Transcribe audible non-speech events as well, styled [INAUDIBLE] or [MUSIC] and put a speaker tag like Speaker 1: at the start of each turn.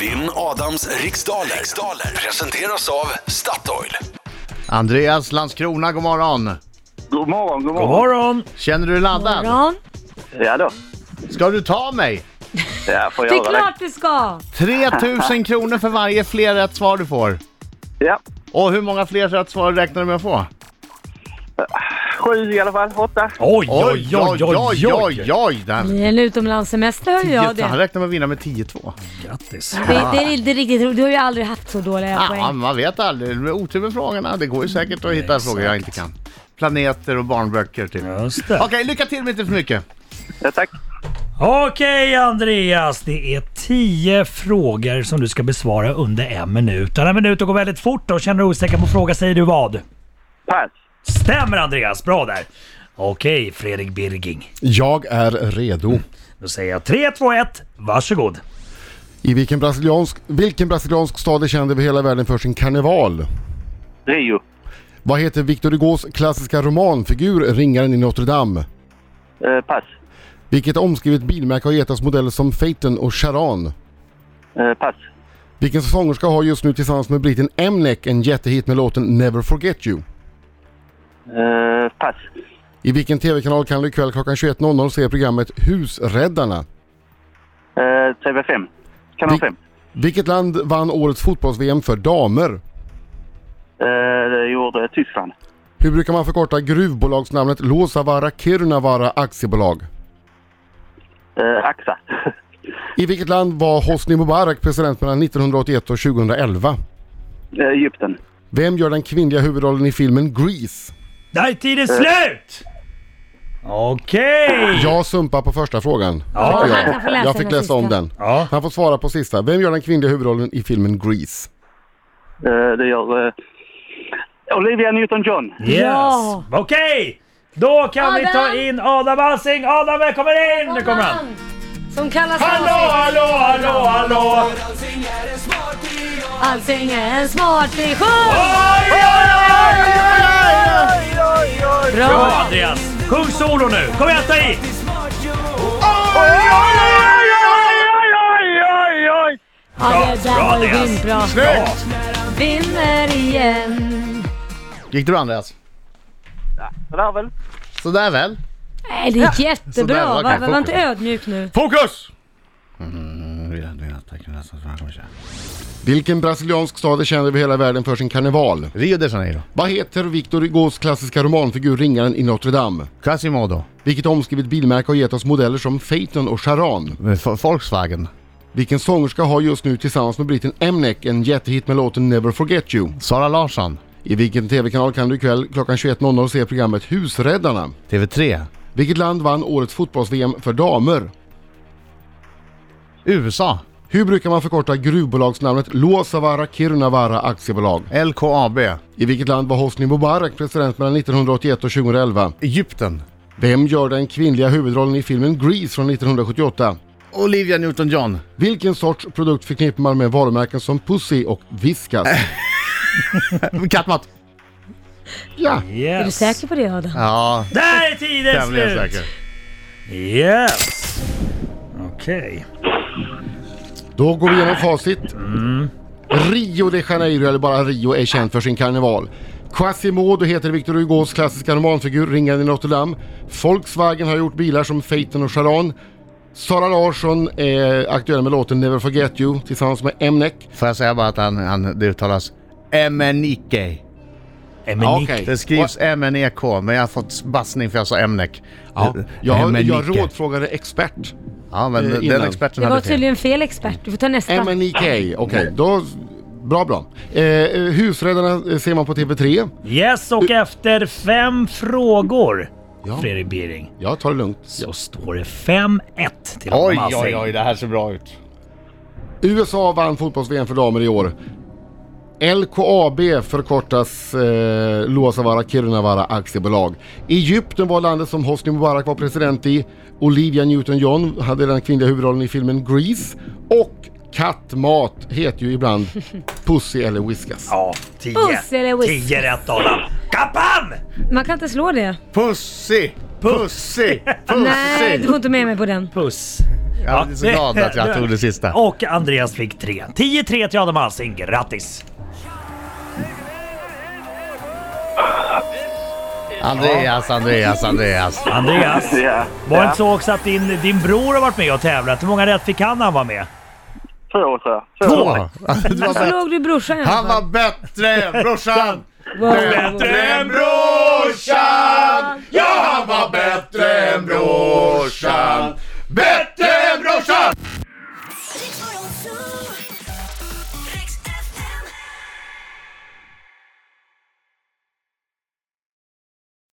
Speaker 1: Vinn Adams riksdaler. riksdaler presenteras av Statoil.
Speaker 2: Andreas Landskrona, god morgon.
Speaker 3: God morgon, god
Speaker 4: God
Speaker 3: morgon.
Speaker 4: morgon!
Speaker 2: Känner du dig laddad?
Speaker 5: Morgon.
Speaker 3: Ja då.
Speaker 2: Ska du ta mig?
Speaker 3: Ja, får
Speaker 5: Det
Speaker 3: jag
Speaker 5: är
Speaker 3: göra det.
Speaker 5: klart du ska!
Speaker 2: 3000 kronor för varje fler rätt svar du får.
Speaker 3: Ja.
Speaker 2: Och hur många fler rätt svar räknar du med att få?
Speaker 3: Sju i alla fall, åtta.
Speaker 4: Oj, oj, oj, oj,
Speaker 2: oj,
Speaker 4: oj!
Speaker 2: oj. Den,
Speaker 5: I en utomlandssemester hör jag det.
Speaker 2: Han räknar med att vinna med 10-2.
Speaker 4: Grattis!
Speaker 5: det. Det är inte riktigt roligt. Du har ju aldrig haft så dåliga
Speaker 2: Ah,
Speaker 5: poäng.
Speaker 2: man vet aldrig. Det är otur med frågorna. Det går ju säkert att hitta frågor jag inte kan. Planeter och barnböcker typ.
Speaker 4: Just
Speaker 2: Okej,
Speaker 4: det.
Speaker 2: lycka till med inte för mycket.
Speaker 3: Ja, tack.
Speaker 4: Okej Andreas, det är 10 frågor som du ska besvara under en minut. Den här minuten går väldigt fort och känner du osäker på fråga säger du vad?
Speaker 3: Pass.
Speaker 4: Stämmer Andreas, bra där! Okej Fredrik Birging,
Speaker 6: Jag är redo.
Speaker 4: då säger jag 3, 2, 1, varsågod!
Speaker 6: I vilken brasiliansk, vilken brasiliansk stad är känd över hela världen för sin karneval?
Speaker 3: Rio.
Speaker 6: Vad heter Victor Hugos klassiska romanfigur Ringaren i Notre Dame?
Speaker 3: Eh, pass.
Speaker 6: Vilket omskrivet bilmärke har gett oss modeller som Phaeton och Charan?
Speaker 3: Eh, pass.
Speaker 6: Vilken sångerska har just nu tillsammans med britten Emnek en jättehit med låten Never Forget You?
Speaker 3: Eh, pass.
Speaker 6: I vilken TV-kanal kan du ikväll klockan 21.00 se programmet Husräddarna?
Speaker 3: Eh, TV5. Kanal
Speaker 6: Vi-
Speaker 3: 5.
Speaker 6: Vilket land vann årets fotbolls-VM för damer?
Speaker 3: Eh, det gjorde Tyskland.
Speaker 6: Hur brukar man förkorta gruvbolagsnamnet Luossavaara Kirunavaara Aktiebolag?
Speaker 3: Eh, Axa. [LAUGHS]
Speaker 6: I vilket land var Hosni Mubarak president mellan 1981 och 2011?
Speaker 3: Eh, Egypten.
Speaker 6: Vem gör den kvinnliga huvudrollen i filmen Grease?
Speaker 4: Där är tiden slut! Okej!
Speaker 6: Jag sumpar på första frågan.
Speaker 4: Ja.
Speaker 6: Tycker
Speaker 5: Han kan få läsa
Speaker 6: jag. jag fick
Speaker 5: den
Speaker 6: läsa om
Speaker 5: sista.
Speaker 6: den.
Speaker 4: Ja.
Speaker 6: Han får svara på sista. Vem gör den kvinnliga huvudrollen i filmen Grease?
Speaker 3: Eh, det gör... Eh, Olivia Newton-John.
Speaker 4: Yes.
Speaker 5: Ja.
Speaker 4: Okej! Då kan vi ta
Speaker 5: Adam.
Speaker 4: in Adam Alsing. Adam välkommen in! Nu kommer han.
Speaker 5: Som kallas
Speaker 4: Hallå,
Speaker 5: Alsing.
Speaker 4: hallå, hallå, hallå!
Speaker 5: Alsing är en smarting sjung!
Speaker 4: Oj, oj, oj, oj, oj! Bra
Speaker 5: Bra!
Speaker 4: Andreas! Sjung solo nu. Kom igen, ta i!
Speaker 5: Ja, det
Speaker 4: Bra,
Speaker 5: där
Speaker 4: bra,
Speaker 5: var ju
Speaker 4: Andreas.
Speaker 5: grym-bra.
Speaker 4: Bra!
Speaker 5: Vinner igen.
Speaker 2: Gick det bra Andreas?
Speaker 3: Sådär väl.
Speaker 2: Sådär väl.
Speaker 5: Nej, det gick
Speaker 2: Sådär,
Speaker 5: jättebra.
Speaker 2: okej,
Speaker 5: Var, var, var
Speaker 2: fokus.
Speaker 5: inte ödmjuk nu.
Speaker 2: Fokus!
Speaker 4: Mm,
Speaker 6: Vilken brasiliansk stad är känd över hela världen för sin karneval?
Speaker 2: Rio de Janeiro.
Speaker 6: Vad heter Victor Hugos klassiska romanfigur Ringaren i Notre Dame?
Speaker 2: Quasimodo.
Speaker 6: Vilket omskrivet bilmärke har gett oss modeller som Phaeton och Charan?
Speaker 2: F- eh, Volkswagen.
Speaker 6: Vilken sångerska har just nu tillsammans med britten Emnek en jättehit med låten Never Forget You?
Speaker 2: Sara Larsson.
Speaker 6: I vilken TV-kanal kan du ikväll klockan 21.00 se programmet Husräddarna?
Speaker 2: TV3.
Speaker 6: Vilket land vann årets fotbolls-VM för damer?
Speaker 2: USA.
Speaker 6: Hur brukar man förkorta gruvbolagsnamnet Luossavaara Kirunavaara Aktiebolag?
Speaker 2: LKAB.
Speaker 6: I vilket land var Hosni Mubarak president mellan 1981 och 2011?
Speaker 2: Egypten.
Speaker 6: Vem gör den kvinnliga huvudrollen i filmen Grease från 1978?
Speaker 2: Olivia Newton-John.
Speaker 6: Vilken sorts produkt förknippar man med varumärken som Pussy och Viskas?
Speaker 2: Eh,
Speaker 6: [LAUGHS]
Speaker 2: Kattmat.
Speaker 6: Ja!
Speaker 4: Yes.
Speaker 5: Är du säker på det Adam?
Speaker 2: Ja,
Speaker 4: Där är tiden
Speaker 2: tämligen
Speaker 4: slut!
Speaker 2: säker.
Speaker 4: Yes! Okej.
Speaker 6: Då går vi igenom facit. Rio de Janeiro, eller bara Rio, är känd för sin karneval. Quasimodo heter Victor Hugos klassiska romanfigur, Ringaren i Notre Dame. Volkswagen har gjort bilar som Phaeton och Charan. Sara Larsson är aktuell med låten Never Forget You tillsammans med Emnek.
Speaker 2: Får jag säga bara att han, han, det uttalas Emenike.
Speaker 4: Okay.
Speaker 6: okej.
Speaker 2: Det skrivs M-N-E-K, men jag har fått bassning för jag sa Emnek.
Speaker 6: Ja,
Speaker 2: Eh,
Speaker 6: jag,
Speaker 2: Emenike.
Speaker 6: jag rådfrågade expert.
Speaker 2: Ja, men
Speaker 6: eh,
Speaker 2: den
Speaker 6: innan.
Speaker 2: experten
Speaker 5: Det var
Speaker 2: hade fel.
Speaker 5: tydligen fel expert. Du får ta nästa.
Speaker 6: MNIK, okej. Då, bra, bra. Eh, eh, husräddarna eh, ser man på TV3.
Speaker 4: Yes, och efter fem frågor,
Speaker 6: Ja.
Speaker 4: Fredrik Biring,
Speaker 6: Jag tar det lugnt.
Speaker 4: så står det 5-1 till
Speaker 2: Oj,
Speaker 4: Adam Alsing.
Speaker 2: oj, oj, det här ser bra ut.
Speaker 6: USA vann fotbolls-VM för damer i år. LKAB förkortas eh, Luossavaara Kirunavaara Aktiebolag. Egypten var landet som Hosni Mubarak var president i. Olivia Newton-John hade den kvinnliga huvudrollen i filmen Grease. Och kattmat heter ju ibland Pussy eller Whiskas.
Speaker 4: Ja, 10.
Speaker 5: Puss eller whisky?
Speaker 4: 10 rätt Adam. Kappan!
Speaker 5: Man kan inte slå det.
Speaker 2: Pussy! Pussy! Pussy!
Speaker 5: Nej, du får inte med mig på den.
Speaker 4: Puss.
Speaker 6: Jag är så glad att jag tog det sista.
Speaker 4: Och Andreas fick tre. 10-3 till Adam Alsing. Grattis!
Speaker 6: Andreas, Andreas, Andreas.
Speaker 4: Andreas,
Speaker 3: Ja.
Speaker 4: var det
Speaker 3: ja.
Speaker 4: inte så också att din, din bror har varit med och tävlat? Hur många rätt fick han när han var med?
Speaker 3: Två, tror jag.
Speaker 4: Två.
Speaker 6: Åh,
Speaker 2: [LAUGHS]
Speaker 6: du
Speaker 5: Men
Speaker 6: var
Speaker 5: så
Speaker 6: bättre.
Speaker 5: låg du i brorsan i alla
Speaker 6: Han var
Speaker 5: fall.
Speaker 6: bättre, brorsan!
Speaker 5: Wow.
Speaker 4: Bättre än
Speaker 6: brorsan! Ja, han var bättre än brorsan! Bättre